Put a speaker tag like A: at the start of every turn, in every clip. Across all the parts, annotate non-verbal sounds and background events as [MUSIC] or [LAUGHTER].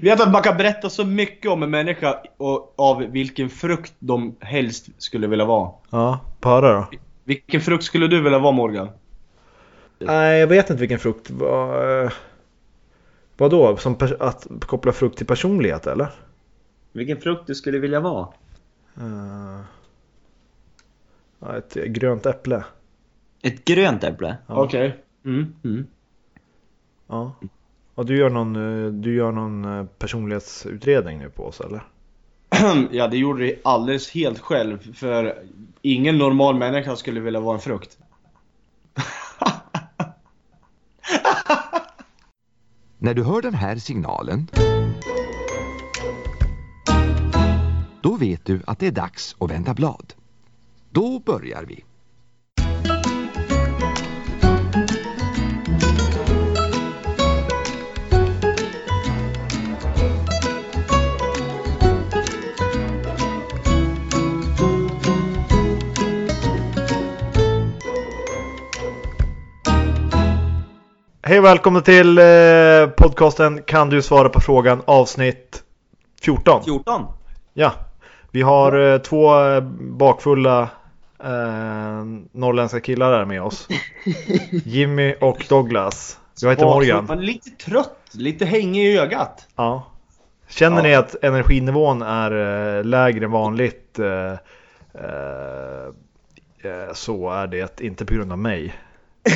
A: Vet att man kan berätta så mycket om en människa och av vilken frukt de helst skulle vilja vara.
B: Ja, para då.
A: Vilken frukt skulle du vilja vara Morgan?
B: Nej, jag vet inte vilken frukt. Vad vadå? Som pers- att koppla frukt till personlighet eller?
A: Vilken frukt du skulle vilja vara?
B: Eh, ja, ett grönt äpple.
C: Ett grönt äpple?
B: Ja.
A: Okej. Mm. Mm.
B: Ja. Och du gör någon, eh, du gör någon eh, personlighetsutredning nu på oss eller?
A: mm. [CLEARS THROAT] ja, det gjorde det alldeles helt själv. För ingen normal människa skulle vilja vara en frukt.
D: När du hör den här signalen då vet du att det är dags att vända blad. Då börjar vi.
B: Hej och välkomna till eh, podcasten Kan du svara på frågan avsnitt 14.
C: 14?
B: Ja, vi har eh, två eh, bakfulla eh, norrländska killar här med
C: [LAUGHS]
B: oss. Jimmy och Douglas. Jag heter Morgan.
A: Man är lite trött, lite hängig i ögat.
B: Ja. Känner
A: Ja.
B: ni att energinivån är eh, lägre än vanligt eh, eh, eh, så är det inte på grund av
C: [LAUGHS]
B: mig. [LAUGHS]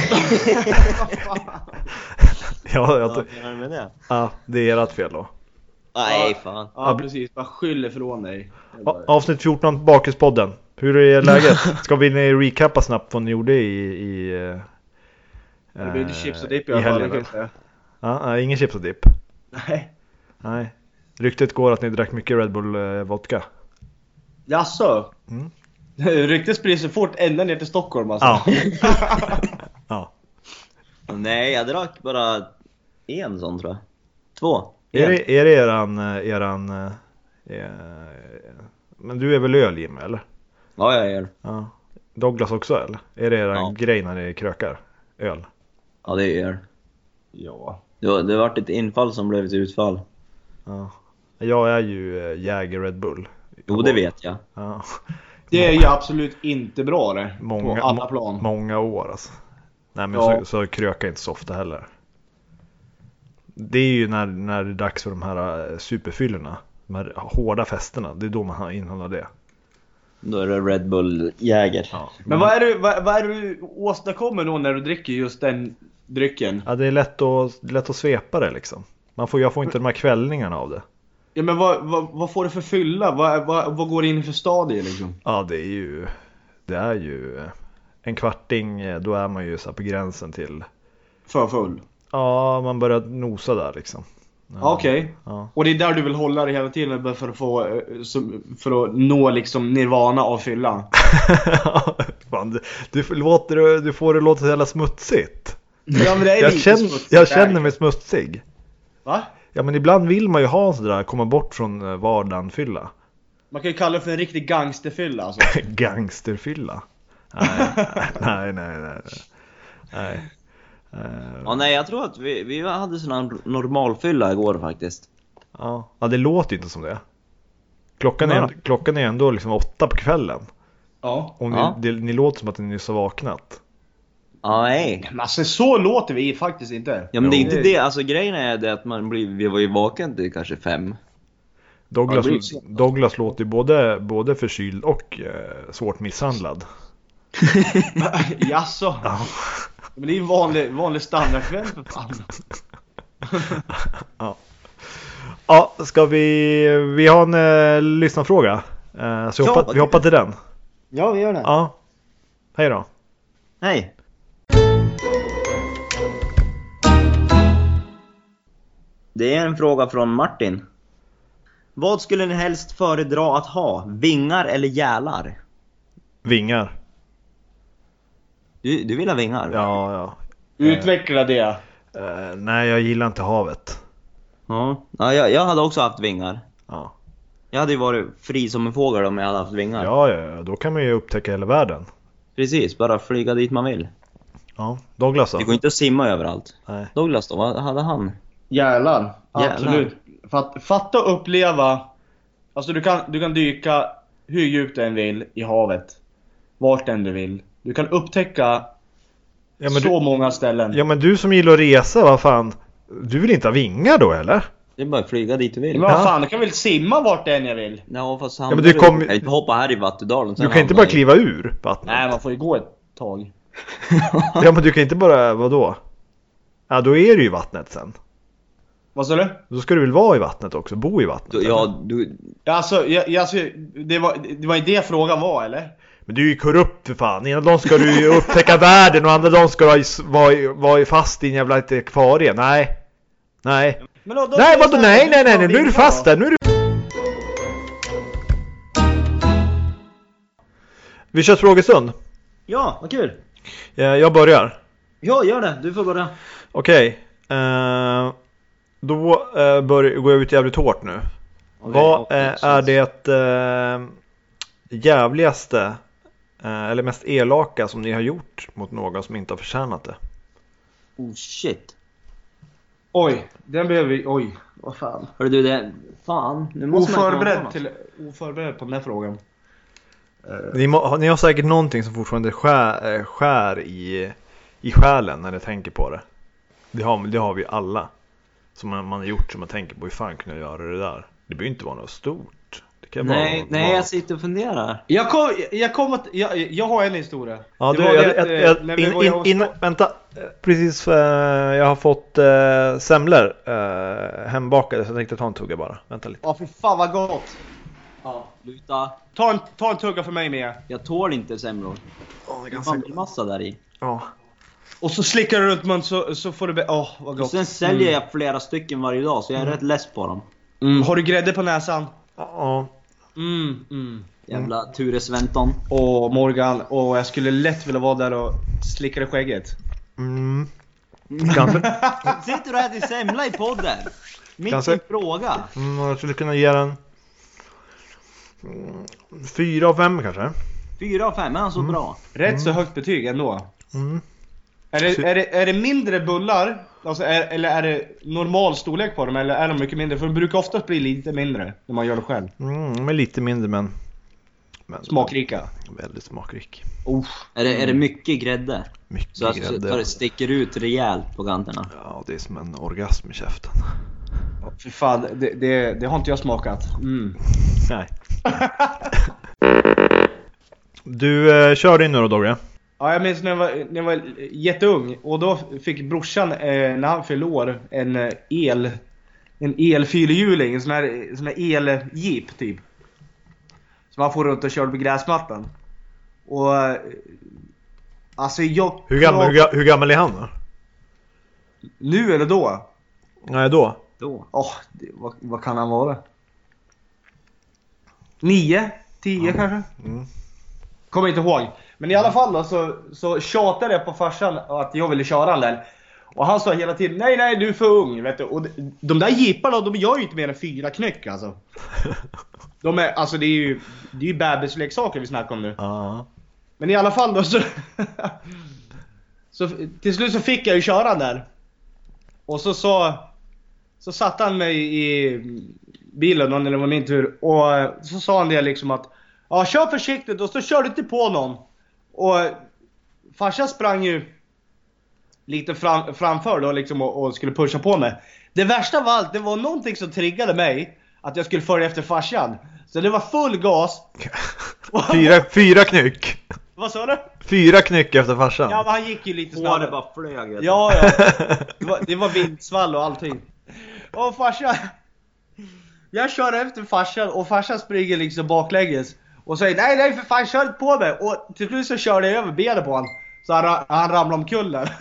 B: ja, jag,
C: Vad menar du med det?
B: ja, det är ert fel då.
C: Nej fan.
A: Ja, precis. Bara skyll ifrån dig.
B: Ja, Avsnitt 14, Bakispodden. Hur är läget? Ska vi ni recappa snabbt vad ni gjorde i... i eh,
A: Det blir inte chips och dipp i
B: i
A: alla fall, det
B: helgen
A: kan jag säga.
B: då.
A: [LAUGHS]
B: Ja, nej, ingen chips och dipp.
A: Nej.
B: Nej. Ryktet går att ni drack mycket Red Bull eh, vodka.
A: Jaså?
B: Mm.
A: [LAUGHS] Ryktet sprids så fort ända ner till Stockholm alltså.
B: Ja. ja.
C: Nej jag drack bara en sån tror jag. Två.
B: Är,
C: En.
B: det, är det eran... eh, eran eh, eh, men du är väl öl Jim, eller?
C: Ja jag gör.
B: Ja. Douglas också eller? Är det eran
C: Ja.
B: grej när ni krökar? Öl?
C: Ja det gör jag.
A: ja.
C: det. Var, det vart ett infall som blev ett utfall.
B: Ja. Jag är ju eh, Jäger Red Bull.
C: Jo det vet jag.
B: Ja.
A: Det är ju absolut inte bra det.
B: Många,
A: på alla plan.
B: många år alltså. Nej men
A: Ja.
B: så, så krökar jag inte så ofta heller. Det är ju när, när det är dags för de här eh, superfyllorna. De här hårda festerna. Det är då man inhandlar det.
C: Då är det Red Bull Jäger.
B: Ja.
A: Men vad är, det, vad, vad är det du åstadkommer då när du dricker just den drycken?
B: Ja, det är lätt att, lätt att svepa det liksom. Man får, jag får inte de här kvällningarna av det.
A: Ja men vad, vad, vad får du för fylla? Vad, vad, vad går det in i för stadie liksom?
B: Ja det är ju, det är ju eh, en kvarting, eh, då är man ju så här på gränsen till,
A: För full?
B: ja man börjar nosa där liksom.
A: Ja, Okej.
B: Ja. [LAUGHS]
A: Och det är där du vill hålla dig hela tiden bara för att få, eh, som- för att nå liksom nirvana av fylla?
B: Fan, du, du, låter, du får det låta så jävla smutsigt.
A: Ja men det är
B: [LAUGHS] Jag
A: lite
B: känner,
A: smutsigt
B: jag
A: där.
B: känner mig smutsig.
A: Va?
B: Ja men ibland vill man ju ha en sådär, komma bort från eh, vardagen fylla.
A: Man kan ju kalla det för en riktig gangsterfylla alltså.
B: [LAUGHS] Gangsterfylla. Nej, [LAUGHS] nej, nej, nej. nej. nej. Eh,
C: Ja nej jag tror att vi, vi hade sån här normalfylla igår faktiskt.
B: Ja. ja, det låter ju inte som det. Klockan är,
C: Nej.
B: klockan är ändå liksom åtta på kvällen.
A: Ja.
B: Och ni,
C: Ja.
B: det, ni låter som att ni nyss har vaknat.
C: Ja nej.
A: Men alltså så låter vi faktiskt inte.
C: Ja men det är
B: Jo.
C: inte det, alltså grejen är det att man blir, vi var ju vaken till kanske fem.
B: Douglas,
C: Ja, det är ju sent.
B: Douglas låter ju både, både förkyld och eh, svårt misshandlad.
A: [LAUGHS] Jaså?
B: Ja.
A: Men det är ju en vanlig, vanlig standardkväll för fan.
B: Ja, ska vi... Vi har en eh, lyssnarfråga. Eh, så vi
C: Ja,
B: hoppar, vi hoppar till den.
C: Ja vi gör det.
B: Ja. Hej då.
C: Nej. Det är en fråga från Martin. Vad skulle ni helst föredra att ha? Vingar eller gälar?
B: Vingar.
C: Du, du vill ha vingar?
B: Ja, ja.
A: Utveckla det.
B: Eh, nej, jag gillar inte havet.
C: Ja, ja jag, jag hade också haft vingar.
B: Ja.
C: Jag hade ju varit fri som en fågel om jag hade haft vingar.
B: Ja, ja, ja, då kan man ju upptäcka hela världen.
C: Precis, bara flyga dit man vill.
B: Ja. Douglas då?
C: Det går inte att simma överallt.
B: Nej.
C: Douglas då, vad hade han?
A: Gälar.
C: Gälar.
A: Absolut. Fatt, fatta och uppleva. Alltså du kan, du kan dyka hur djupt du än vill i havet. Vart än du vill. Du kan upptäcka
B: Ja men,
A: så
B: du,
A: många ställen.
B: ja men du som gillar att resa, vad fan. Du vill inte ha vingar då eller?
C: Det är bara att flyga dit du vill.
A: Men vad
B: Ja.
A: fan, jag kan väl simma vart än jag vill?
C: Ja, fast
B: men
C: hamnar
B: du
C: du
B: kom-
C: kan inte hoppa här i Vattudalen. sen
B: Du kan inte
C: hamnar
B: bara
C: i-
B: kliva ur vattnet.
A: Nej, man får ju gå ett tag.
B: Ja men du kan inte bara, vadå? Ja då är du ju i vattnet sen.
A: Vad sa du?
B: Då ska du väl vara i vattnet också, bo i vattnet?
C: Du- Ja, du...
A: Ja, Alltså, jag, jag, alltså det, var, det var inte det frågan var eller?
B: Men du är ju korrupt för fan. Ena dagen ska du ju upptäcka världen och andra dagen ska du ha i- vara i- vara i fast i en jävla ett akvarie. Nej. Nej.
A: Men då, då
B: Nej vadå nej nej nej nej nu är du fast där. Nu är du... Vi kör frågestund.
C: Ja, vad kul!
B: Ja, Jag börjar.
C: Ja, gör det. Du får börja.
B: Okej. eh, då eh, bör, går jag ut jävligt hårt nu.
C: Okej,
B: Vad
C: och-
B: eh, är det eh, jävligaste eh, eller mest elaka som ni har gjort mot någon som inte har förtjänat det?
C: Oh shit.
A: Oj, den behöver vi, oj. Vad fan.
C: Hörru du, det... Fan. Nu måste man komma
A: Oförberedd,
C: på
A: till, oförberedd på den här frågan.
B: Ni, må, har- ni har säkert någonting som fortfarande skär, eh, skär i, i själen när ni tänker på det. Det har, det har vi alla. Som man, man har gjort som man tänker på, hur fan kunde jag göra det där? Det behöver inte vara något stort. Det kan
C: något. Nej,
B: vara,
C: nej,
B: vara...
C: jag sitter och funderar.
A: Jag kom, jag kom att, jag, jag har en historia.
B: Ja,
A: Det
B: du,
A: var
B: jag,
A: det att,
B: jag,
A: eh, när
B: jag,
A: vi
B: in,
A: var
B: in,
A: hos-
B: in, vänta, Eh, precis eh, jag har fått eh, semlor eh, hembakade så jag tänkte ta en tugga bara. Vänta lite.
A: Ja, fy fan vad gott. Ja.
C: Sluta.
A: Ta en, ta en tugga för mig med.
C: Jag tål inte semlor.
B: Oh, det
C: Det är mandelmassa där i.
B: ja.
A: Och så slickar du runt munnen så, så får du be- Åh, vad
C: Och
A: gott.
C: sen säljer jag flera stycken varje dag, så jag är rätt less på dem.
A: Mm, har du grädde på näsan?
B: Ja.
A: Mm, mm.
C: Jävla Ture Sventon.
A: Åh, Morgan. Åh, jag skulle lätt vilja vara där och slicka dig i skägget.
B: Mm. Kanske,
C: Sitter du och äter semla i podden? Mitt
B: Kanske.
C: i fråga.
B: mm, jag skulle kunna ge den mm, fyra av fem kanske.
C: Fyra av fem, är han så bra?
A: Rätt så högt betyg ändå.
B: Mm.
A: Är
B: Så-
A: det, är det, är det mindre bullar? Alltså är, eller är det normal storlek på dem? Eller är de mycket mindre? För de brukar oftast bli lite mindre när man gör det själv.
B: Mm, men lite mindre men, men
A: Smakrika.
B: väldigt smakrik.
A: Usch.
C: Är det, är det mycket grädde?
B: Mm. Mycket
C: Så att så att
B: grädde.
C: det sticker ut rejält på kanterna.
B: Ja, det är som en orgasm i käften. [LAUGHS]
A: Fy fan, det, det, det har inte jag smakat. Mm.
C: [LAUGHS]
B: Nej. Du eh, kör din nu då Dogge.
A: Ja, jag minns när jag, var, när jag var jätteung och då fick brorsan, eh, när han fyllde år, en eh, el... En elfyrhjuling, en sån här, eh, sån här eljeep typ. Som han for runt och körde på gräsmattan. Och... eh, Alltså jag...
B: Hur gammal, hur, ga- hur gammal är han då?
A: Nu eller då?
B: Nej då?
C: Då.
A: Åh, det- vad, vad kan han vara? Nio? Tio kanske?
B: Mm.
A: Kommer inte ihåg. Men i alla fall då, så, så tjatade jag på farsan att jag ville köra den där. Och han sa hela tiden nej nej du är för ung. Vet du? Och de, de där jeeparna de gör ju inte mer än fyra knyck alltså. De är, alltså det är ju, det är ju bebisleksaker vi snackar om nu.
B: [LAUGHS] Ja.
A: Men i alla fall då så... så till slut så fick jag ju köra den där. Och så sa... Så satte han mig i bilen då när det var min tur och eh, så sa han det liksom att Ja kör försiktigt och så kör du inte på någon. Och eh, farsan sprang ju lite fram, framför då liksom och, och skulle pusha på mig. Det värsta av allt, det var någonting som triggade mig att jag skulle följa efter farsan. Så det var full gas.
B: Fyra, fyra knyck!
A: Vad sa du?
B: Fyra knyck efter
A: Ja
B: farsan.
A: men han gick ju lite
C: Håret
A: snabbare.
C: bara flög vet du.
A: Ja ja.
B: [LAUGHS]
A: Det var, det var vindsvall och allting. Och farsan. Jag kör efter farsan och farsan springer liksom baklänges. Och säger nej nej för fan kör inte på mig. Och till slut så körde jag över benet på honom. Så han, ra- han ramlade omkull där. [LAUGHS]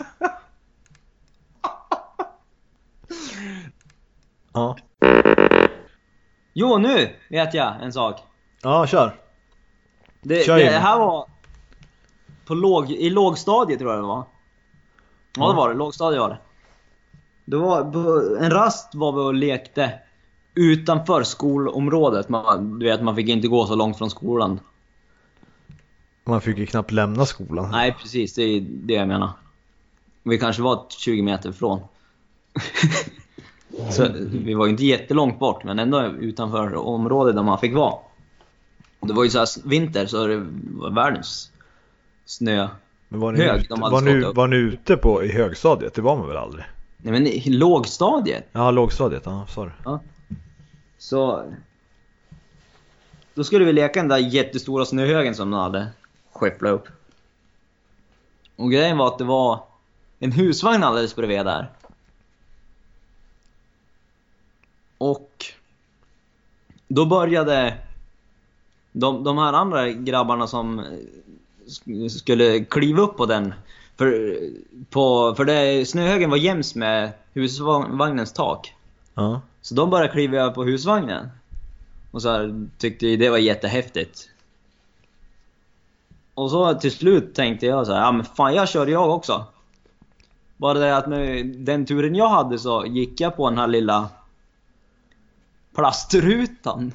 B: Ja.
C: Jo, nu vet jag en sak.
B: ja, kör.
C: Det,
B: Kör
C: det
B: Jimmy.
C: här var på låg, i lågstadiet tror jag det var. Ja det var det, lågstadiet var det. det var, på- en rast var vi och lekte utanför skolområdet. Man, du vet man fick inte gå så långt från skolan.
B: Man fick ju knappt lämna skolan.
C: Nej precis, det är det jag menar. Vi kanske var 20 meter ifrån. Så vi var ju inte jättelångt bort, men ändå utanför området där man fick vara. Och Det var ju så här vinter, så det var världens snö.
B: Men var ni,
C: Hög,
B: ute,
C: de hade
B: var,
C: stått
B: ni,
C: upp.
B: var ni ute på i högstadiet? Det var man väl aldrig?
C: Nej men i lågstadiet,
B: Ja, lågstadiet. Ja, sorry.
C: så... Då skulle vi leka den där jättestora snöhögen som de hade skepplat upp. Och grejen var att det var en husvagn alldeles bredvid där. Och då började de, de här andra grabbarna som eh, sk- skulle kliva upp på den. För, eh, på, för det, snöhögen var jäms med husvagnens tak.
B: Ja.
C: Så de började kliva över på husvagnen. Och så här, tyckte ju det var jättehäftigt. Och så till slut tänkte jag så här, ja men fan jag kör jag också. Bara det att med den turen jag hade så gick jag på den här lilla plastrutan.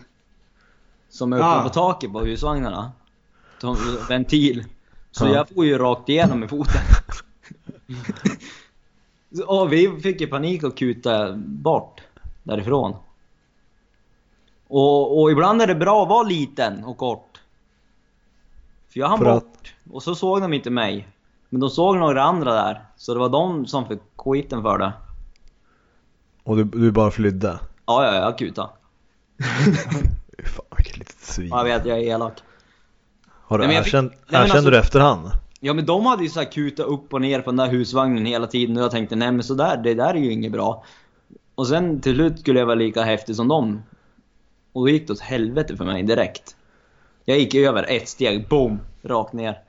C: Som är uppe
A: Ah.
C: på taket på husvagnarna. Som ventil. Så
B: Ja.
C: jag får ju rakt igenom med foten. [LAUGHS] Så- och vi fick ju panik och kuta bort därifrån. Och, och ibland är det bra att vara liten och kort. För jag hann
B: För
C: bort.
B: att-
C: Och så såg de inte mig. Men de såg några andra där. Så det var de som fick skiten för det.
B: Och du, du bara flydde?
C: Ja, ja, jag kutade.
B: Fy Fan vilket litet svin.
C: Ja, Jag vet, jag är elak.
B: Har du
C: Nej, men jag fick-
B: erkänt,
C: Nej, men
B: erkände
C: alltså-
B: du efterhand?
C: Ja men de hade ju så här kutat upp och ner på den där husvagnen hela tiden och jag tänkte nej men sådär, det där är ju inget bra. Och sen till slut skulle jag vara lika häftig som dem. Och då gick det åt helvete för mig direkt. Jag gick över ett steg, boom, rakt ner.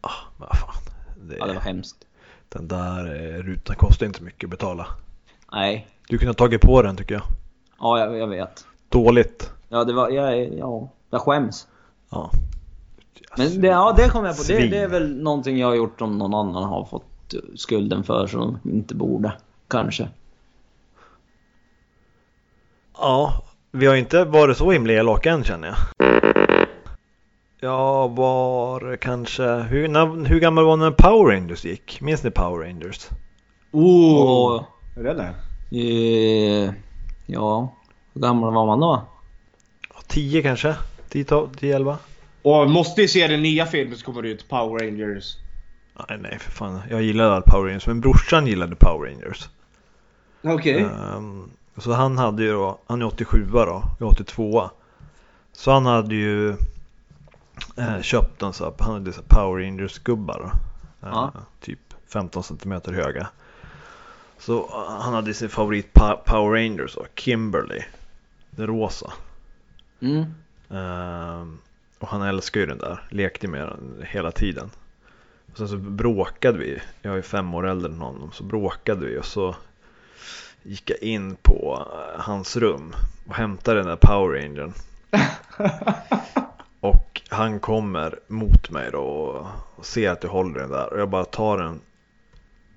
B: Ah, men vad fan. Det,
C: Ja det var hemskt.
B: Den där eh, rutan kostar inte mycket att betala.
C: Nej,
B: Du kunde ha tagit på den tycker jag.
C: ja jag, jag vet.
B: Dåligt.
C: Ja det var, jag, ja, jag skäms.
B: Ja. Alltså,
C: Men det, ja det kom jag på, det,
B: Svin.
C: det är väl någonting jag har gjort som någon annan har fått eh, skulden för som inte borde. Kanske.
B: Ja, vi har inte varit så himla elaka än känner jag. Jag var kanske, hur, när, hur gammal var när Power Rangers gick? Minns ni Power Rangers?
A: Oh.
C: Och,
A: Är det det?
C: Eh, ja, hur gammal var man då?
B: Ja, 10 kanske? 10, 12, 10, 11?
A: Och måste ju se den nya filmen som kommer ut, Power Rangers.
B: Nej, nej för fan. Jag gillade all Power Rangers, men brorsan gillade Power Rangers.
A: Okej.
B: Ehm, så han hade ju då, han är 87 då, jag är 82 Så han hade ju eh, köpt en så här, han hade så här Power Rangers gubbar då. Eh,
C: Ja.
B: Typ 15 cm höga. Så eh, han hade sin favorit pa- Power Rangers då, Kimberly. Den rosa.
C: Mm.
B: Ehm, och han älskar ju den där, lekte med den hela tiden. Och sen så bråkade vi, jag är fem år äldre än honom, så bråkade vi och så gick jag in på eh, hans rum och hämtade den där Power Rangern. och han kommer mot mig då och och ser att jag håller den där och jag bara tar den,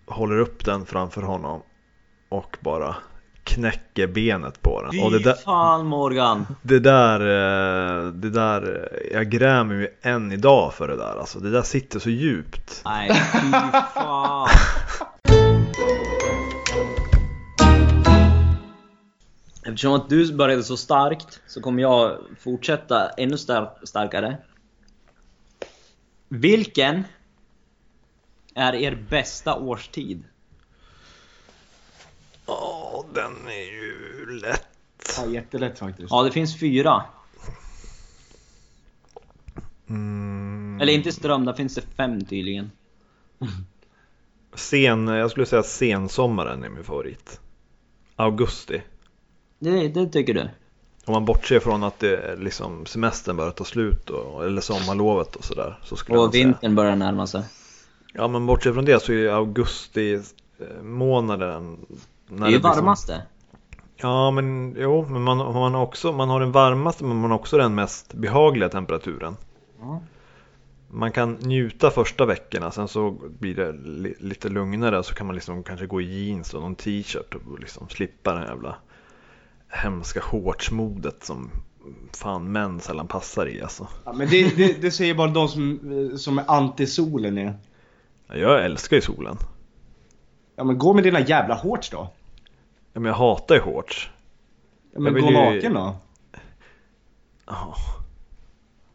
B: håller upp den framför honom och bara knäcker benet på den. Och det
C: Fy
B: där-
C: fan Morgan!
B: det där, eh, det där, eh, jag grämer mig än idag för det där alltså. Det där sitter så djupt. [LAUGHS]
C: Nej, fy fan! Eftersom att du började så starkt så kommer jag fortsätta ännu star- starkare. Vilken är er bästa årstid?
B: Ja, den är ju lätt.
A: Ja, jättelätt faktiskt.
C: Ja, det finns fyra.
B: Mm.
C: Eller inte ström, där finns det fem tydligen.
B: Sen, eh, jag skulle säga sensommaren är min favorit. Augusti.
C: Det, det tycker du?
B: Om man bortser från att det är liksom semestern börjar ta slut och, eller sommarlovet och sådär. Så skulle jag
C: Och
B: säga.
C: vintern börjar närma sig.
B: Ja men bortsett från det så är ju augusti eh, månaden. när
C: det är ju
B: liksom-
C: varmaste.
B: Ja, men jo, men man, man, har också, man har den varmaste men man har också den mest behagliga temperaturen.
C: Ja.
B: Man kan njuta första veckorna, sen så blir det li, lite lugnare så kan man liksom kanske gå i jeans och någon t-shirt och liksom slippa den jävla hemska shortsmodet som fan män sällan passar i alltså.
A: Ja, men det, det, det säger bara de som, eh, som är anti-solen är.
B: Jag älskar ju solen.
A: Ja men gå med dina jävla shorts då.
B: Ja, men jag hatar ju shorts.
A: Ja, men
B: vill
A: gå
B: ju-
A: naken då.
B: Ja.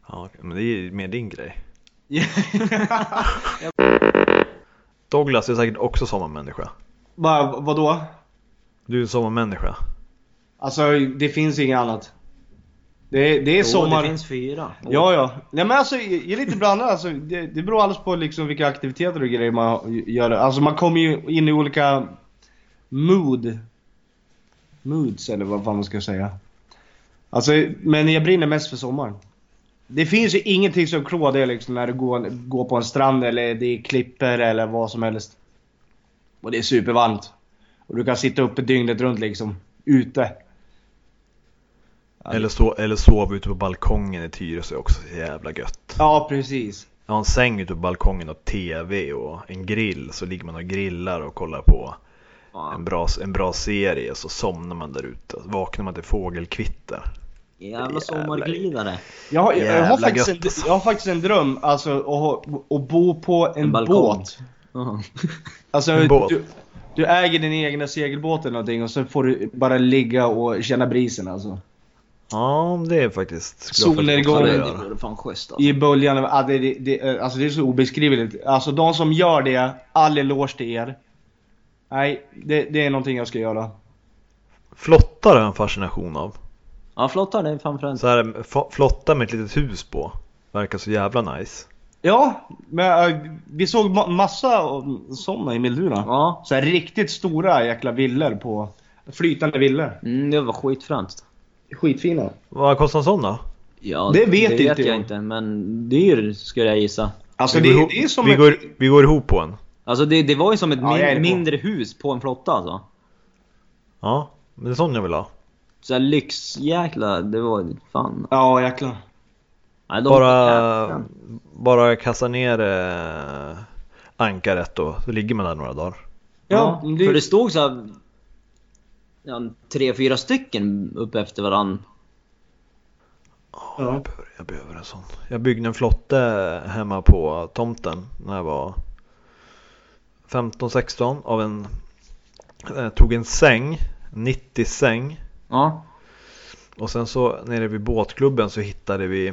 B: Ja, men det är ju mer din [LAUGHS] grej. Douglas är säkert också sommarmänniska.
A: Bara, vadå?
B: Du är en sommarmänniska.
A: Alltså det finns inget annat. Det, det är sommar.
C: Det finns fyra.
A: Ja, ja. Nej men alltså jag är lite blandad alltså. Det, det beror alldeles på liksom vilka aktiviteter och grejer man gör. Alltså man kommer ju in i olika mood. Moods eller vad fan man ska säga. Alltså, men jag brinner mest för sommaren. Det finns ju ingenting som klår det liksom när du går, går på en strand eller det är klippor eller vad som helst. Och det är supervarmt. Och du kan sitta uppe dygnet runt liksom. Ute. Ja, det-
B: Eller, så, eller sova ute på balkongen i Tyresö är också så jävla gött.
A: Ja, precis.
B: Jag har en säng ute på balkongen och TV och en grill. Så ligger man och grillar och kollar på en
C: Fan,
B: bra, en bra serie. Så somnar man där ute. Vaknar man till fågelkvitter.
C: Jävla sommarglidare.
A: Jag har, jag, har
B: Jävla
A: faktiskt
B: gött,
A: en, jag har faktiskt en dröm, alltså att, ha- att bo på en,
C: En balkong.
A: båt.
C: Ja.
A: Alltså,
B: En båt.
A: Du, du äger din egna segelbåt eller någonting och sen får du bara ligga och känna brisen alltså.
B: Ja, det är faktiskt... skulle jag faktiskt
C: [LAUGHS]
A: Solnedgång.
B: också
A: det
C: Det
B: vilja göra.
C: vore fan schysst alltså.
A: I böljan, ja, det, det, det, alltså det är så obeskrivligt. Alltså de som gör det, all eloge till er. Nej, det, det är någonting jag ska göra.
B: Flottar har jag en fascination av.
C: Ja, flottar det är fan främst.
B: Så här, fa- flotta med ett litet hus på. Verkar så jävla nice.
A: Ja, men eh, vi såg ma- massa sådana i Milduna.
C: Ja.
A: Så här riktigt stora jäkla villor på, flytande villor.
C: Mm, det var skitfrämst.
A: Skitfina.
B: Vad kostar en sån då?
C: Ja,
A: Det vet
C: det
A: inte
C: vet jag
A: jag.
C: inte, men dyr skulle jag gissa.
A: Alltså
B: vi,
A: det,
B: går ihop,
A: det är som
B: vi,
A: ett-
B: går, vi går ihop på en.
C: Alltså det, det var ju som ett
A: Ja, jag är
C: min,
A: på.
C: mindre hus på en flotta alltså.
B: Ja, men det är sån jag vill ha.
C: Så här lyxjäkla, det var fan.
A: Ja jäklar.
C: Nej, de-
B: Bara, bara kasta ner eh, ankaret och så ligger man där några dagar.
A: Ja,
C: Ja,
A: det-
C: för det stod så här, ja, tre, fyra stycken upp efter varann.
A: Ja.
B: Jag, behöver, jag behöver en sån. Jag byggde en flotte hemma på tomten när jag var 15-16 av en eh, tog en säng, 90 säng
C: Ja.
B: och sen så nere vid båtklubben så hittade vi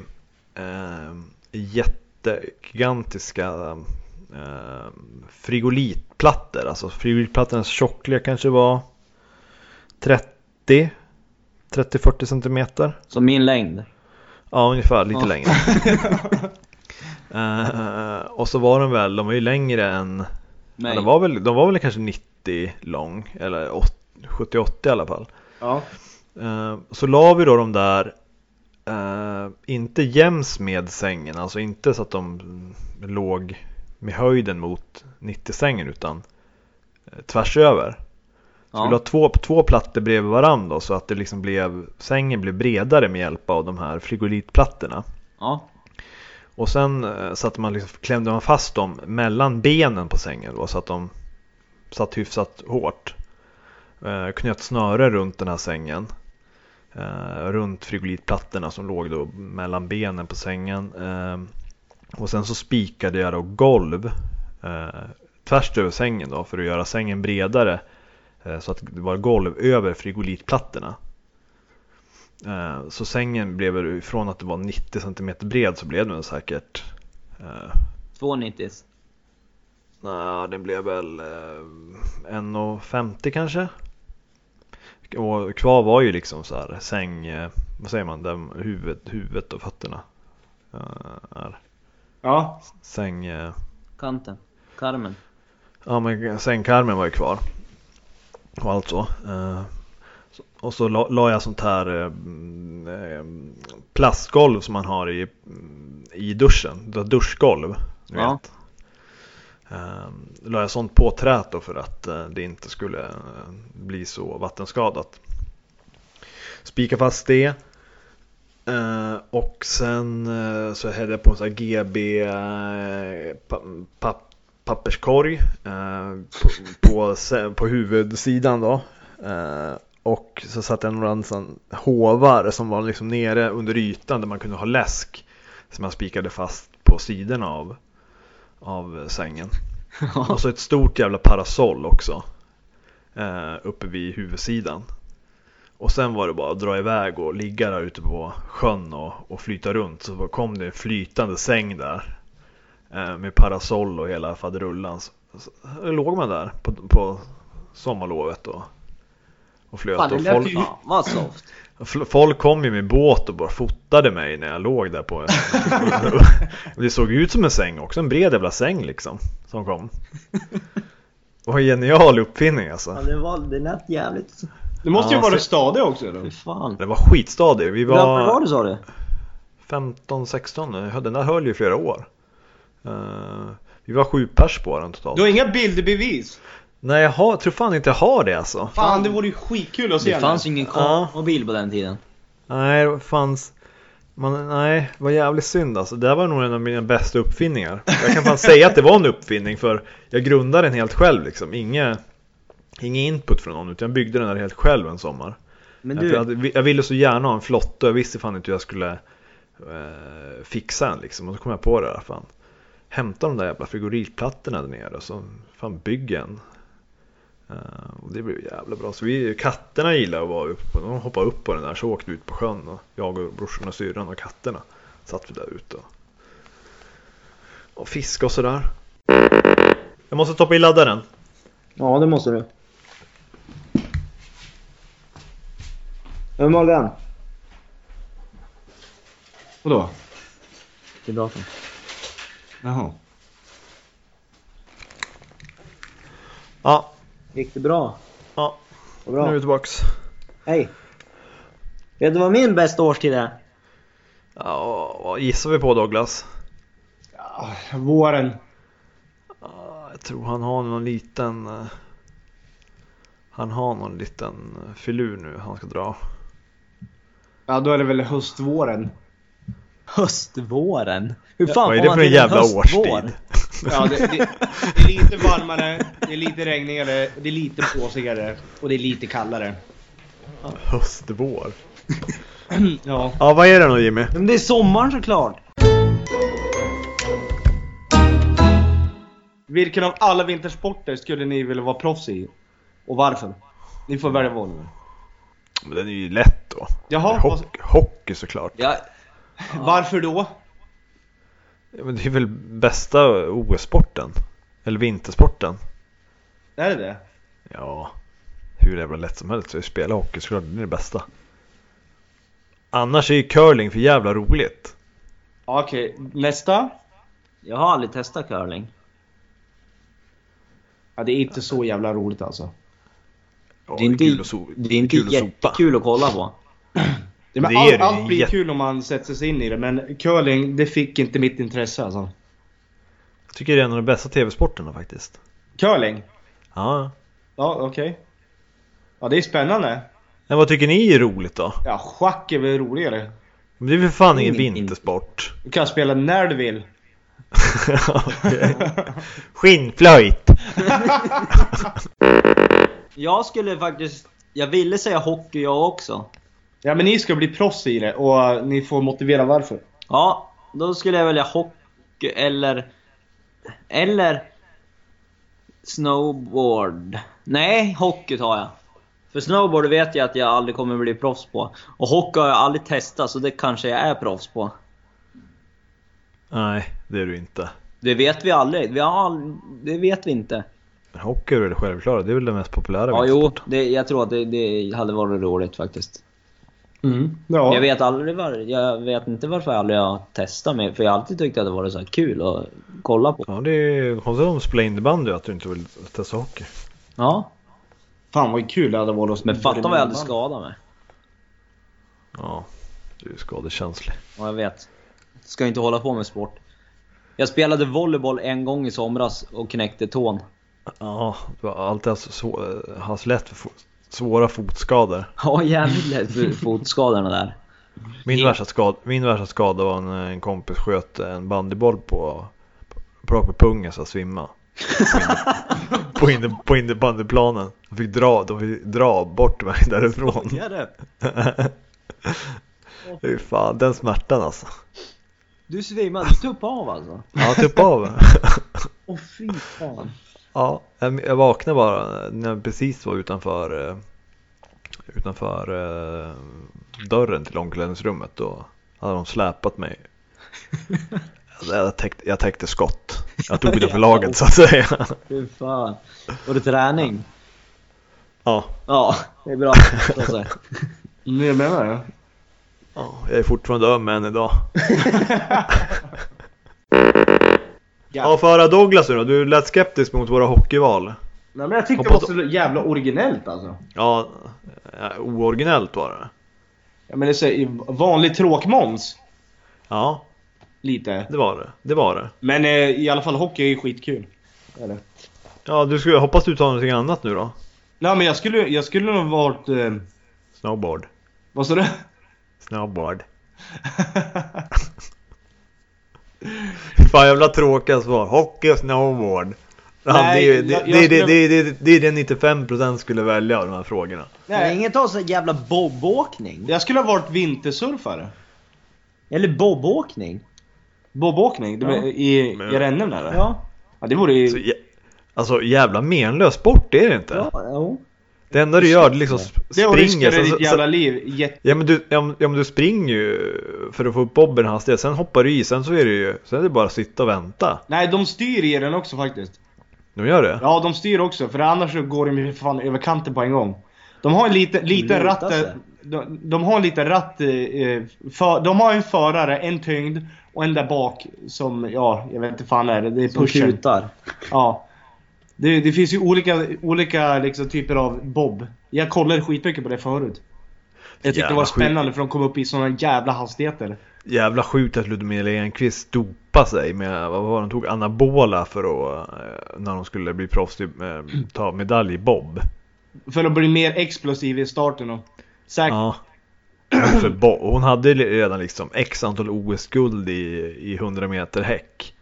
B: eh, jättegigantiska eh, frigolitplattor. Alltså frigolitplattornas tjocklek kanske var 30 30-40 centimeter.
C: Som min längd.
B: Ja, ungefär. Lite
C: Ja. [LAUGHS]
B: längre. Eh, och så var de väl, de var ju längre än,
C: Nej.
B: de var väl, de var väl kanske 90 lång, eller åt- 70-80 i alla fall.
A: Ja.
B: Eh, så la vi då de där, eh, inte jäms med sängen, alltså inte så att de låg med höjden mot 90-sängen utan eh, tvärs över. Skulle
C: ja.
B: ha två, två plattor bredvid varandra då, så att det liksom blev, sängen blev bredare med hjälp av de här frigolitplattorna.
C: ja.
B: Och sen eh, satte man liksom, klämde man fast dem mellan benen på sängen då, så att de satt hyfsat hårt. Eh, knöt snöre runt den här sängen. Eh, runt frigolitplattorna som låg då mellan benen på sängen. Eh, och sen så spikade jag då golv eh, tvärs över sängen då för att göra sängen bredare. Eh, så att det var golv över frigolitplattorna. Eh, Så sängen blev väl från att det var 90 cm bred så blev den säkert... Eh,
C: Två 90s.
B: nej, den blev väl eh, 1,50 kanske. Och kvar var ju liksom så här säng... Eh, vad säger man? Där huvudet, huvudet och fötterna. Eh, är
A: Ja.
B: säng... Eh,
C: Kanten. Karmen.
B: Ja men sängkarmen var ju kvar. Och allt så. Eh, så- Och så la, la jag sånt här eh, mm, eh, plastgolv som man har i, mm, i duschen. Du har Duschgolv. Du
C: Ja.
B: vet. Eh, La jag sånt på trät då för att eh, det inte skulle eh, bli så vattenskadat. Spika fast det. Eh, och sen eh, så hällde jag på en sån här GB eh, pa, pa, papperskorg eh, på, på, se- på huvudsidan då. Eh, och så satte jag några sån hovar som var liksom nere under ytan där man kunde ha läsk. Som jag spikade fast på sidorna av, Alltså av sängen. Och så ett stort jävla parasoll också. eh, uppe vid huvudsidan. Och sen var det bara att dra iväg och ligga där ute på sjön och, och flyta runt. Så kom det en flytande säng där eh, med parasoll och hela faderullan. Så, så, så låg man där på, på sommarlovet och, och flöt.
C: Fan, det
B: och
C: lät
B: folk,
C: ju... Fan, vad soft.
B: Fl- Folk kom ju med båt och bara fotade mig när jag låg där på
C: [LAUGHS]
B: Det såg ut som en säng också, en bred jävla säng liksom som kom. Vad en genial uppfinning
C: Ja,
B: alltså.
C: det, var, det lät jävligt...
A: Du måste
B: Ja,
A: ju vara
B: så-
A: stadig också. Då.
C: Fy fan.
B: Det var skitstadig, vi
C: Hur gammal var
B: var
C: du sa du?
B: 15-16, den där höll ju flera år. Eh, vi var sju pers på den totalt.
A: Du har inga bilderbevis?
B: Nej jag har, tror fan inte jag har det alltså.
A: Fan, det vore ju skitkul att se
C: Det
A: den.
C: fanns ju ingen
B: Ja.
C: mobil på den tiden.
B: Nej, det fanns... Man, nej, det var jävligt synd alltså. Det här var nog en av mina bästa uppfinningar. Jag kan fan säga att det var en uppfinning för jag grundade den helt själv liksom. Inge, ingen input från någon utan jag byggde den där helt själv en sommar.
C: Men
B: För Jag,
C: du,
B: hade- jag ville så gärna ha en flotte och jag visste fan inte hur jag skulle eh, fixa den liksom. Och så kom jag på det där fan. Hämta de där jävla frigoritplattorna där nere och så fan bygg en. Eh, och det blev jävla bra. Så vi, katterna gillade att vara uppe på, de hoppade upp på den där så åkte vi ut på sjön och jag och brorsan och syrran och katterna satt vi där ute och, och fiskade och sådär. Jag måste stoppa i laddaren.
C: ja det måste du. Hur Morgan?
A: Vadå?
C: Till datorn.
A: Jaha.
B: Ja,
C: Gick det bra?
B: ja,
C: Vad
B: nu är
C: bra.
B: vi tillbaks.
C: Hej. Vet du vad min bästa årstid är?
B: Ja, vad gissar vi på Douglas?
A: Ja, våren.
B: Ja, Ah, Jag tror han har någon liten... eh, Han har någon liten eh, filur nu han ska dra.
A: Ja, då är det väl höstvåren.
C: Höstvåren? Hur fan
B: Vad är
C: får
B: det
C: man
B: för en
C: till
B: jävla
C: höstvår?
B: årstid?
A: Ja, det, det, det är lite varmare, det är lite regnigare, det är lite blåsigare och det är lite kallare.
B: Höstvår.
A: Ja.
B: Ja, vad är det då Jimmy?
C: Men det är sommaren såklart.
A: Vilken av alla vintersporter skulle ni vilja vara proffs i? Och varför? Ni får välja Volvo.
B: Men den är ju lätt då.
A: Jaha,
B: Hockey, hockey såklart.
C: Ja,
A: Varför då?
B: Ja, Men det är väl bästa OS-sporten? Eller vintersporten?
A: Är det det?
B: Ja, hur jävla lätt som helst. Så jag spelar hockey såklart, det är det bästa. Annars är ju curling för jävla roligt.
A: Ja, Okej, nästa.
C: jag har aldrig testat curling.
A: Ja, det är inte så jävla roligt alltså.
B: Ja,
C: Det är inte,
B: kul att so-
C: det är inte
B: kul att sopa.
C: jättekul att kolla på.
A: Ja, men
B: Det är
A: allt-
B: det ju.
A: allt blir
B: Jätte-
A: kul om man sätter sig in i det, men curling, det fick inte mitt intresse alltså.
B: Jag tycker det är en av de bästa tv-sporterna faktiskt.
A: Curling?
B: Ja.
A: Ja, okej. Ja, det är spännande.
B: Men vad tycker ni är roligt då?
A: Ja, schack är väl roligare.
B: Men det är väl fan ingen
C: Ingen
B: vintersport? [LAUGHS]
A: Du kan spela när du vill.
B: Okej. Skinnflöjt!
C: Jag skulle faktiskt... Jag ville säga hockey jag också.
A: Ja, men ni ska bli proffs i det och eh, ni får motivera varför.
C: Ja, då skulle jag välja hockey eller... Eller... Snowboard. Nej, hockey tar jag. För snowboard vet jag att jag aldrig kommer bli proffs på. Och hockey har jag aldrig testat, så det kanske jag är proffs på.
B: Nej, det är du inte.
C: Det vet vi aldrig. Vi har all... Det vet vi inte.
B: Men hockey är väl det självklara, det är väl den mest populära
C: Ja, jo.
B: vintersporten?
C: Det, jag tror att det, det hade varit roligt
A: Ja.
C: faktiskt.
B: Mm.
C: Jag vet aldrig var, Jag vet inte varför jag aldrig har testat mig. För jag har alltid tyckt att det varit så här kul att kolla på.
B: Ja, det är konstigt om du spelar innebandy att du inte vill testa hockey.
C: Ja.
A: Fan vad kul det hade varit att
C: Men fatta vad jag hade skadat mig.
B: Ja, du är skadekänslig.
C: Ja, jag vet. Ska inte hålla på med sport. Jag spelade volleyboll en gång i somras och knäckte tån. [LAUGHS]
B: Ja, du har alltid haft så, haft lätt för fo- svåra fotskador.
C: Ja, jävligt lätt för fotskadorna där.
B: Min
C: Ja.
B: värsta, skada, min värsta skada var när en kompis sköt en bandyboll på, på, på pungen så jag svimmade. På, inne, på, inne, på innebandyplanen. De fick dra, de fick dra bort mig därifrån. [LAUGHS] Fy fan, den smärtan alltså.
C: Du svimmade, du tuppade av alltså?
B: Ja, typ av.
C: Åh fy fan.
B: Ja, jag jag vaknade bara när jag precis var utanför, eh, utanför eh, dörren till omklädningsrummet. Då hade de släpat mig. Alltså, Jag täckte, jag täckte skott. Jag tog det för laget så att säga.
C: Fy fan. Var det träning?
B: Ja,
C: Ja, det är bra. så att säga.
A: Men jag menar det.
B: ja, jag är fortfarande öm än idag. Ja, för att höra Douglas nu då. Du lät skeptisk mot våra hockeyval.
A: Nej, men jag tyckte det var
B: Hoppas-
A: så jävla originellt alltså.
B: Ja, eh, ooriginellt var det.
A: Ja, men det är så, i vanlig tråkmåns.
B: Ja,
A: Lite.
B: det var det. Det var det.
A: Men eh, i alla fall hockey är ju skitkul. Eller?
B: Ja, du skulle, jag hoppas du tar någonting annat nu då.
A: Nej men jag skulle, jag skulle nog varit... Eh,
B: Snowboard.
A: vad
C: [LAUGHS]
A: sa du?
B: Snowboard. Fy Fan jävla tråkiga svar. Hockey och snowboard. Ja,
A: Nej,
B: det, är ju- det,
A: jag-
B: det,
A: jag
B: det,
A: skulle-
B: det, det, det är det 95% skulle välja av de här frågorna.
C: Men
A: Nej,
C: ingen tar så här jävla bobåkning.
A: jag skulle ha varit vintersurfare.
C: Eller bobåkning.
A: Bobåkning det,
C: Ja.
A: i,
B: Men-
A: i rännorna där. Ja.
C: Ja.
A: det vore
B: Så,
A: ju...
B: jä, alltså jävla menlös sport är det inte.
C: Ja, jo.
B: Det enda du gör är liksom sp-
A: Det har du
B: springer.
A: riskerat
B: sen-
A: ditt
B: sen-
A: jävla liv. Jätte...
B: Ja men, du, ja, men- ja men du springer ju för att få upp bobben hastighet, sen hoppar du i, sen så är det ju sen är det bara att sitta och vänta.
A: Nej, de styr i den också faktiskt.
B: De gör det?
A: Ja, de styr också. För annars så går de ju för fan över kanten på en gång. De har en liten, liten
C: lutar
A: ratt...
C: sig.
A: De, de har en liten ratt... eh, eh, För, de har en förare, en tyngd och en där bak som, ja, jag vet inte fan är det. Det är
C: Som
A: pushen.
C: kutar.
A: Ja. Det, det finns ju olika, olika liksom, typer av bob. Jag kollade skitmycket på det förut. Jag tyckte det
B: Jävla
A: var
B: skit.
A: spännande för de kom upp i sådana jävla hastigheter.
B: Jävla sjukt att Ludmilla Enquist dopade sig med, vad var det, de tog anabola för att, eh, när de skulle bli proffs, i, eh, ta medalj i bob.
A: För att bli mer explosiv i starten och... Säkert.
B: Ja. [CLEARS THROAT] För bo- hon hade ju redan liksom x antal OS-guld i, i 100 meter häck.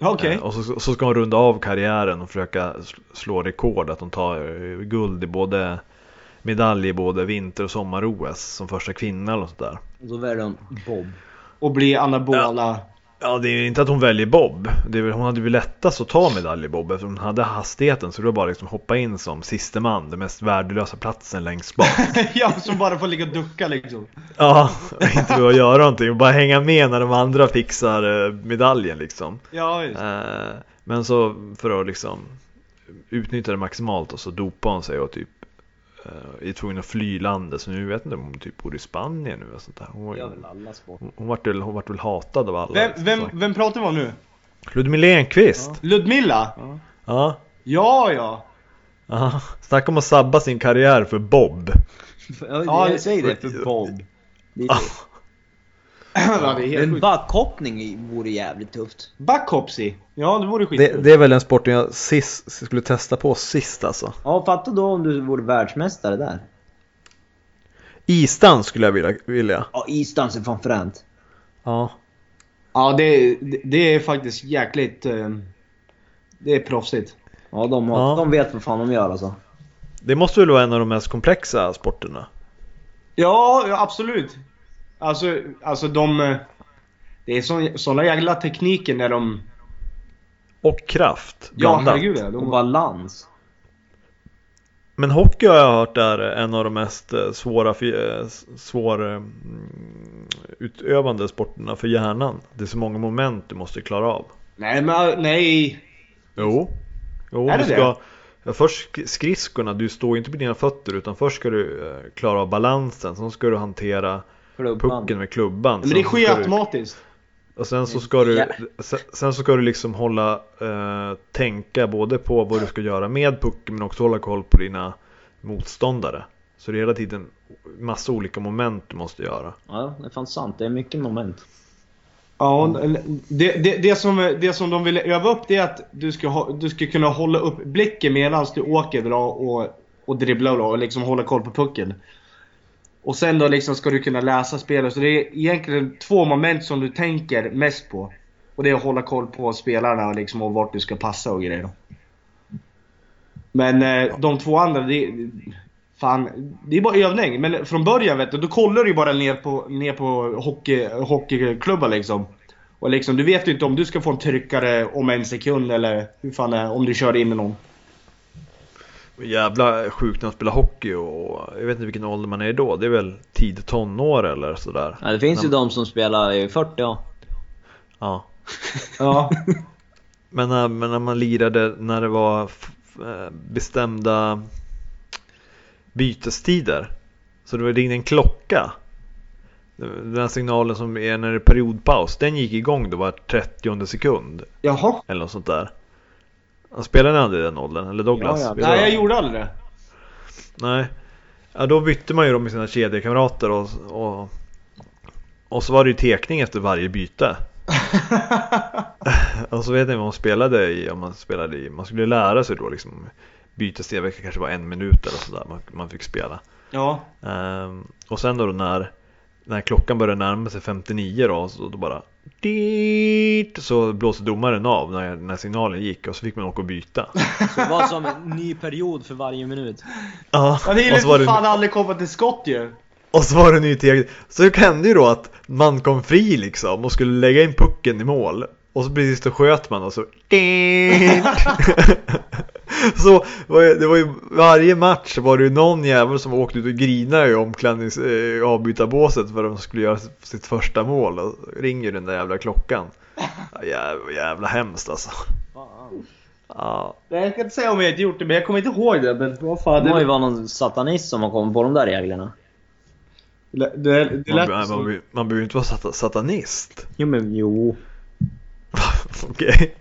A: Okej.
B: Eh, Och så, så ska hon runda av karriären och försöka sl- slå rekord. Att hon tar eh, guld i både medalj i både vinter och sommar-OS som första kvinna eller sånt där.
C: Och så väljer de bob.
A: Och bli anabola.
B: Ja, det är ju inte att hon väljer bob. Det är väl, hon hade väl lättast att ta medalj i bob eftersom hon hade hastigheten. Så det var bara liksom hoppa in som siste man, den mest värdelösa platsen längst bak.
A: [LAUGHS] [LAUGHS] Ja. som bara får ligga och ducka liksom.
B: ja, och inte behöva göra någonting. och Bara hänga med när de andra fixar eh, medaljen liksom.
A: Ja, just.
B: Eh, Men så för att liksom utnyttja det maximalt och så dopade hon sig och typ eh, är tvungen att fly landet. Så nu vet jag inte om hon typ bor i Spanien nu eller sånt där. Hon, var
C: Det gör
B: ju-
C: väl alla sport.
B: hon, hon, vart väl, hon vart väl hatad av alla.
A: Vem,
B: liksom,
A: vem,
B: så.
A: vem pratar vi om nu?
B: Ludmilla Enquist!
A: Ludmilla?
B: Ja.
A: Ja, ja.
B: Ja. Snacka om att sabba sin karriär för Bob.
C: Ja,
A: det-
C: jag säger det för bob. Det är
B: Ja.
C: det.
A: ja det är helt
C: Men
A: sjukt.
C: backhoppning vore jävligt tufft.
A: Backhopsy. Ja, det vore skit.
B: Det, det är väl den sporten jag sist, skulle testa på sist alltså.
C: Ja, fatta då om du vore världsmästare där.
B: Isdans skulle jag vilja. vilja.
C: Ja, isdans är fan fränt.
B: Ja.
A: Ja, det, det, det är faktiskt jäkligt... eh, Det är proffsigt.
C: Ja, de, har,
B: Ja.
C: de vet vad fan de gör alltså.
B: Det måste väl vara en av de mest komplexa sporterna?
A: Ja, ja, absolut. Alltså, alltså de... eh, Det är sådana jävla tekniker när de...
B: Och kraft
A: Ja,
B: blandat.
A: herregud ja.
C: Och
A: De,
C: balans.
B: Men hockey har jag hört är en av de mest eh, svåra, för- eh, s- svår, eh, mm, utövande sporterna för hjärnan. Det är så många moment du måste klara av.
A: nej, men nej.
B: Jo. jo
A: Är
B: du
A: det det?
B: ska, ja, Först sk- skridskorna, du står ju inte på dina fötter utan först ska du eh, klara av balansen, sen ska du hantera
C: Klubban.
B: pucken med klubban.
A: Men det
B: sen så
A: sker ju
B: ska du-
A: automatiskt.
B: Och sen så ska du,
C: Ja.
B: sen, sen så ska du liksom hålla, eh, tänka både på vad du ska göra med pucken men också hålla koll på dina motståndare. Så det är hela tiden massa olika moment du måste göra.
C: Ja, det är fan sant. Det är mycket moment.
A: Ja, det, det, det, som, det som de ville öva upp det är att du ska, ha, du ska kunna hålla upp blicken medan du åker bra och, och dribblar bra och liksom hålla koll på pucken. Och sen då liksom ska du kunna läsa spelet. Så det är egentligen två moment som du tänker mest på. Och det är att hålla koll på spelarna och, liksom, och vart du ska passa och grejer. då. Men eh, de två andra, det, fan, det är bara övning. Men från början vet du, då kollar du ju bara ner på, ner på hockey, hockeyklubbar liksom. Och liksom, du vet ju inte om du ska få en tryckare om en sekund eller hur fan det är, om du kör in i någon.
B: Jävla sjukt när man spelar hockey och jag vet inte vilken ålder man är i då. Det är väl tidigt tonår eller sådär.
C: Ja, det finns ju
B: Men-
C: de som spelar i 40 ja.
B: Ja.
A: Ja.
B: Men, när- men när man lirade när det var f- f- eh, bestämda bytestider. Så det var- ringde en klocka. Den här signalen som är när det är periodpaus. Den gick igång då var 30 sekund.
A: Jaha.
B: Eller något sånt där. Han spelade aldrig i den åldern? Eller
A: Ja,
B: Douglas?
A: ja.
B: Spelade
A: Nej, jag
B: han?
A: gjorde aldrig det.
B: Nej. Ja, då bytte man ju dem med sina kedjekamrater och, och, och så var det ju tekning efter
A: [LAUGHS]
B: varje byte. och så vet ni vad man spelade i, om man spelade i, man skulle lära sig då liksom bytessteg kanske var en minut eller sådär man, man fick spela.
A: Ja.
B: Ehm, och sen då när, när klockan började närma sig 59 då, så då bara dit, så blåste domaren av när, när signalen gick och så fick man åka och byta.
C: [LAUGHS] Så det var som en ny period för varje minut.
B: Ja,
A: [LAUGHS] Ja, det
B: och så
A: gillar
B: var
A: ju
B: det-
A: fan aldrig komma till skott ju.
B: Och så var det ny teg. Så det hände ju då att man kom fri liksom och skulle lägga in pucken i mål. Och så precis då sköt man och så... [LAUGHS] så var det, det var ju varje match var det ju någon jävel som åkte ut och grinade i omklädnings... Eh, avbytarbåset för att de skulle göra sitt första mål. Och ringer ju den där jävla klockan. Ja, Jävla, jävla hemskt alltså.
C: Fan.
B: Ja,
A: Nej, Jag kan inte säga om jag inte gjort det, men jag kommer inte ihåg det. Men vad fan,
C: Det må ju
A: det,
C: vara någon satanist som har kommit på de där reglerna.
A: det, det, det
B: man,
A: lät
B: man,
A: som...
B: man, man behöver ju inte vara sat- satanist. [LAUGHS]
C: Jo men jo.
A: [LAUGHS]
B: Okej.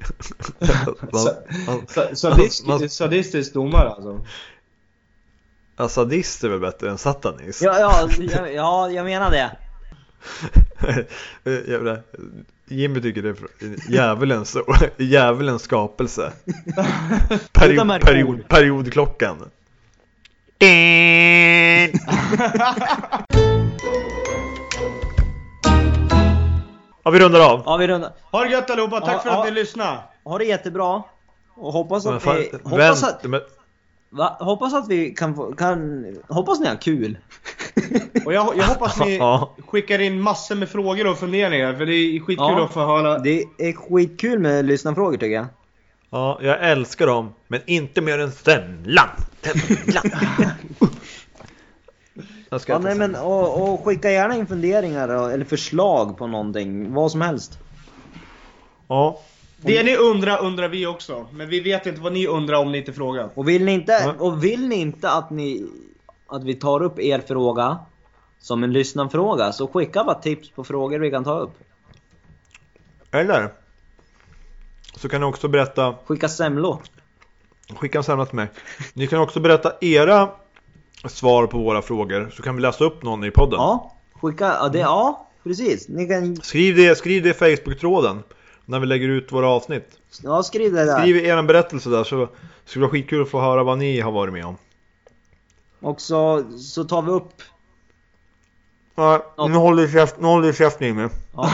B: Man-
A: sa- sadist-
B: man-
A: Sadistisk domare alltså.
B: Ja, sadist är väl bättre än satanist? [LAUGHS]
C: Ja, ja, ja, ja jag menar det.
B: Jävlar. Eh, Jimmy tycker det är för- djävulens, [LAUGHS] djävulens
C: [LAUGHS]
B: skapelse.
C: Sluta
B: Period,
C: med det här
B: period,
C: ordet.
B: periodklockan.
C: [LAUGHS]
B: Ja, vi rundar av.
C: Ja, vi rundar.
A: Ha det gött allihopa, tack
C: Ja,
A: för att
C: ja.
A: ni lyssnade.
C: Ha det jättebra. Och hoppas
B: Men
C: att
B: fan,
C: vi...
B: vänt,
C: Hoppas att,
B: men,
C: va, hoppas att vi kan få... Kan, hoppas ni
B: [LAUGHS]
C: har kul.
A: Och jag, jag hoppas
C: [LAUGHS]
A: ni
B: Ja.
A: skickar in massor med frågor och funderingar, för det är skitkul
C: Ja.
A: att få höra.
C: Det är skitkul med lyssnarfrågor tycker jag.
B: ja, jag älskar dem, men inte mer än semlan. Semlan.
C: [LAUGHS]
B: Jag ska
C: Ja,
B: äta
C: nej, men,
B: semla.
C: och, och skicka gärna in funderingar och- eller förslag på någonting. Vad som helst.
B: Ja.
A: Det ni undrar undrar vi också, men vi vet inte vad ni undrar om ni inte frågar.
C: Och vill ni inte,
B: Ja.
C: och vill ni inte att, ni, att vi tar upp er fråga som en lyssnarfråga så skicka bara tips på frågor vi kan ta upp.
B: Eller så kan ni också berätta,
C: Skicka semlor.
B: skicka en semla till mig. Ni kan också berätta era svar på våra frågor så kan vi läsa upp någon i podden.
C: Ja, skicka, ja, det, ja precis. Ni kan,
B: Skriv det, skriv det i Facebook-tråden när vi lägger ut våra avsnitt.
C: ja skriv det där.
B: Skriv er berättelse där så skulle det vara skitkul att få höra vad ni har varit med om.
C: Och så, så tar vi upp.
B: Ja, nu håller du käft- nu håller du käften Jimmy.
C: Ja.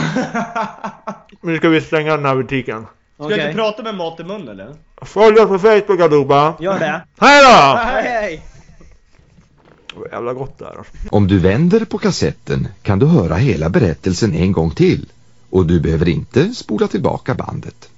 B: Nu ska vi stänga den här butiken.
A: Ska jag
C: Okej.
A: inte prata med mat i munnen eller?
B: Följ oss på Facebook allihopa!
C: Gör det.
B: [LAUGHS] Hej då!
C: Hej hej!
B: Det var jävla gott det här.
D: Om du vänder på kassetten kan du höra hela berättelsen en gång till och du behöver inte spola tillbaka bandet.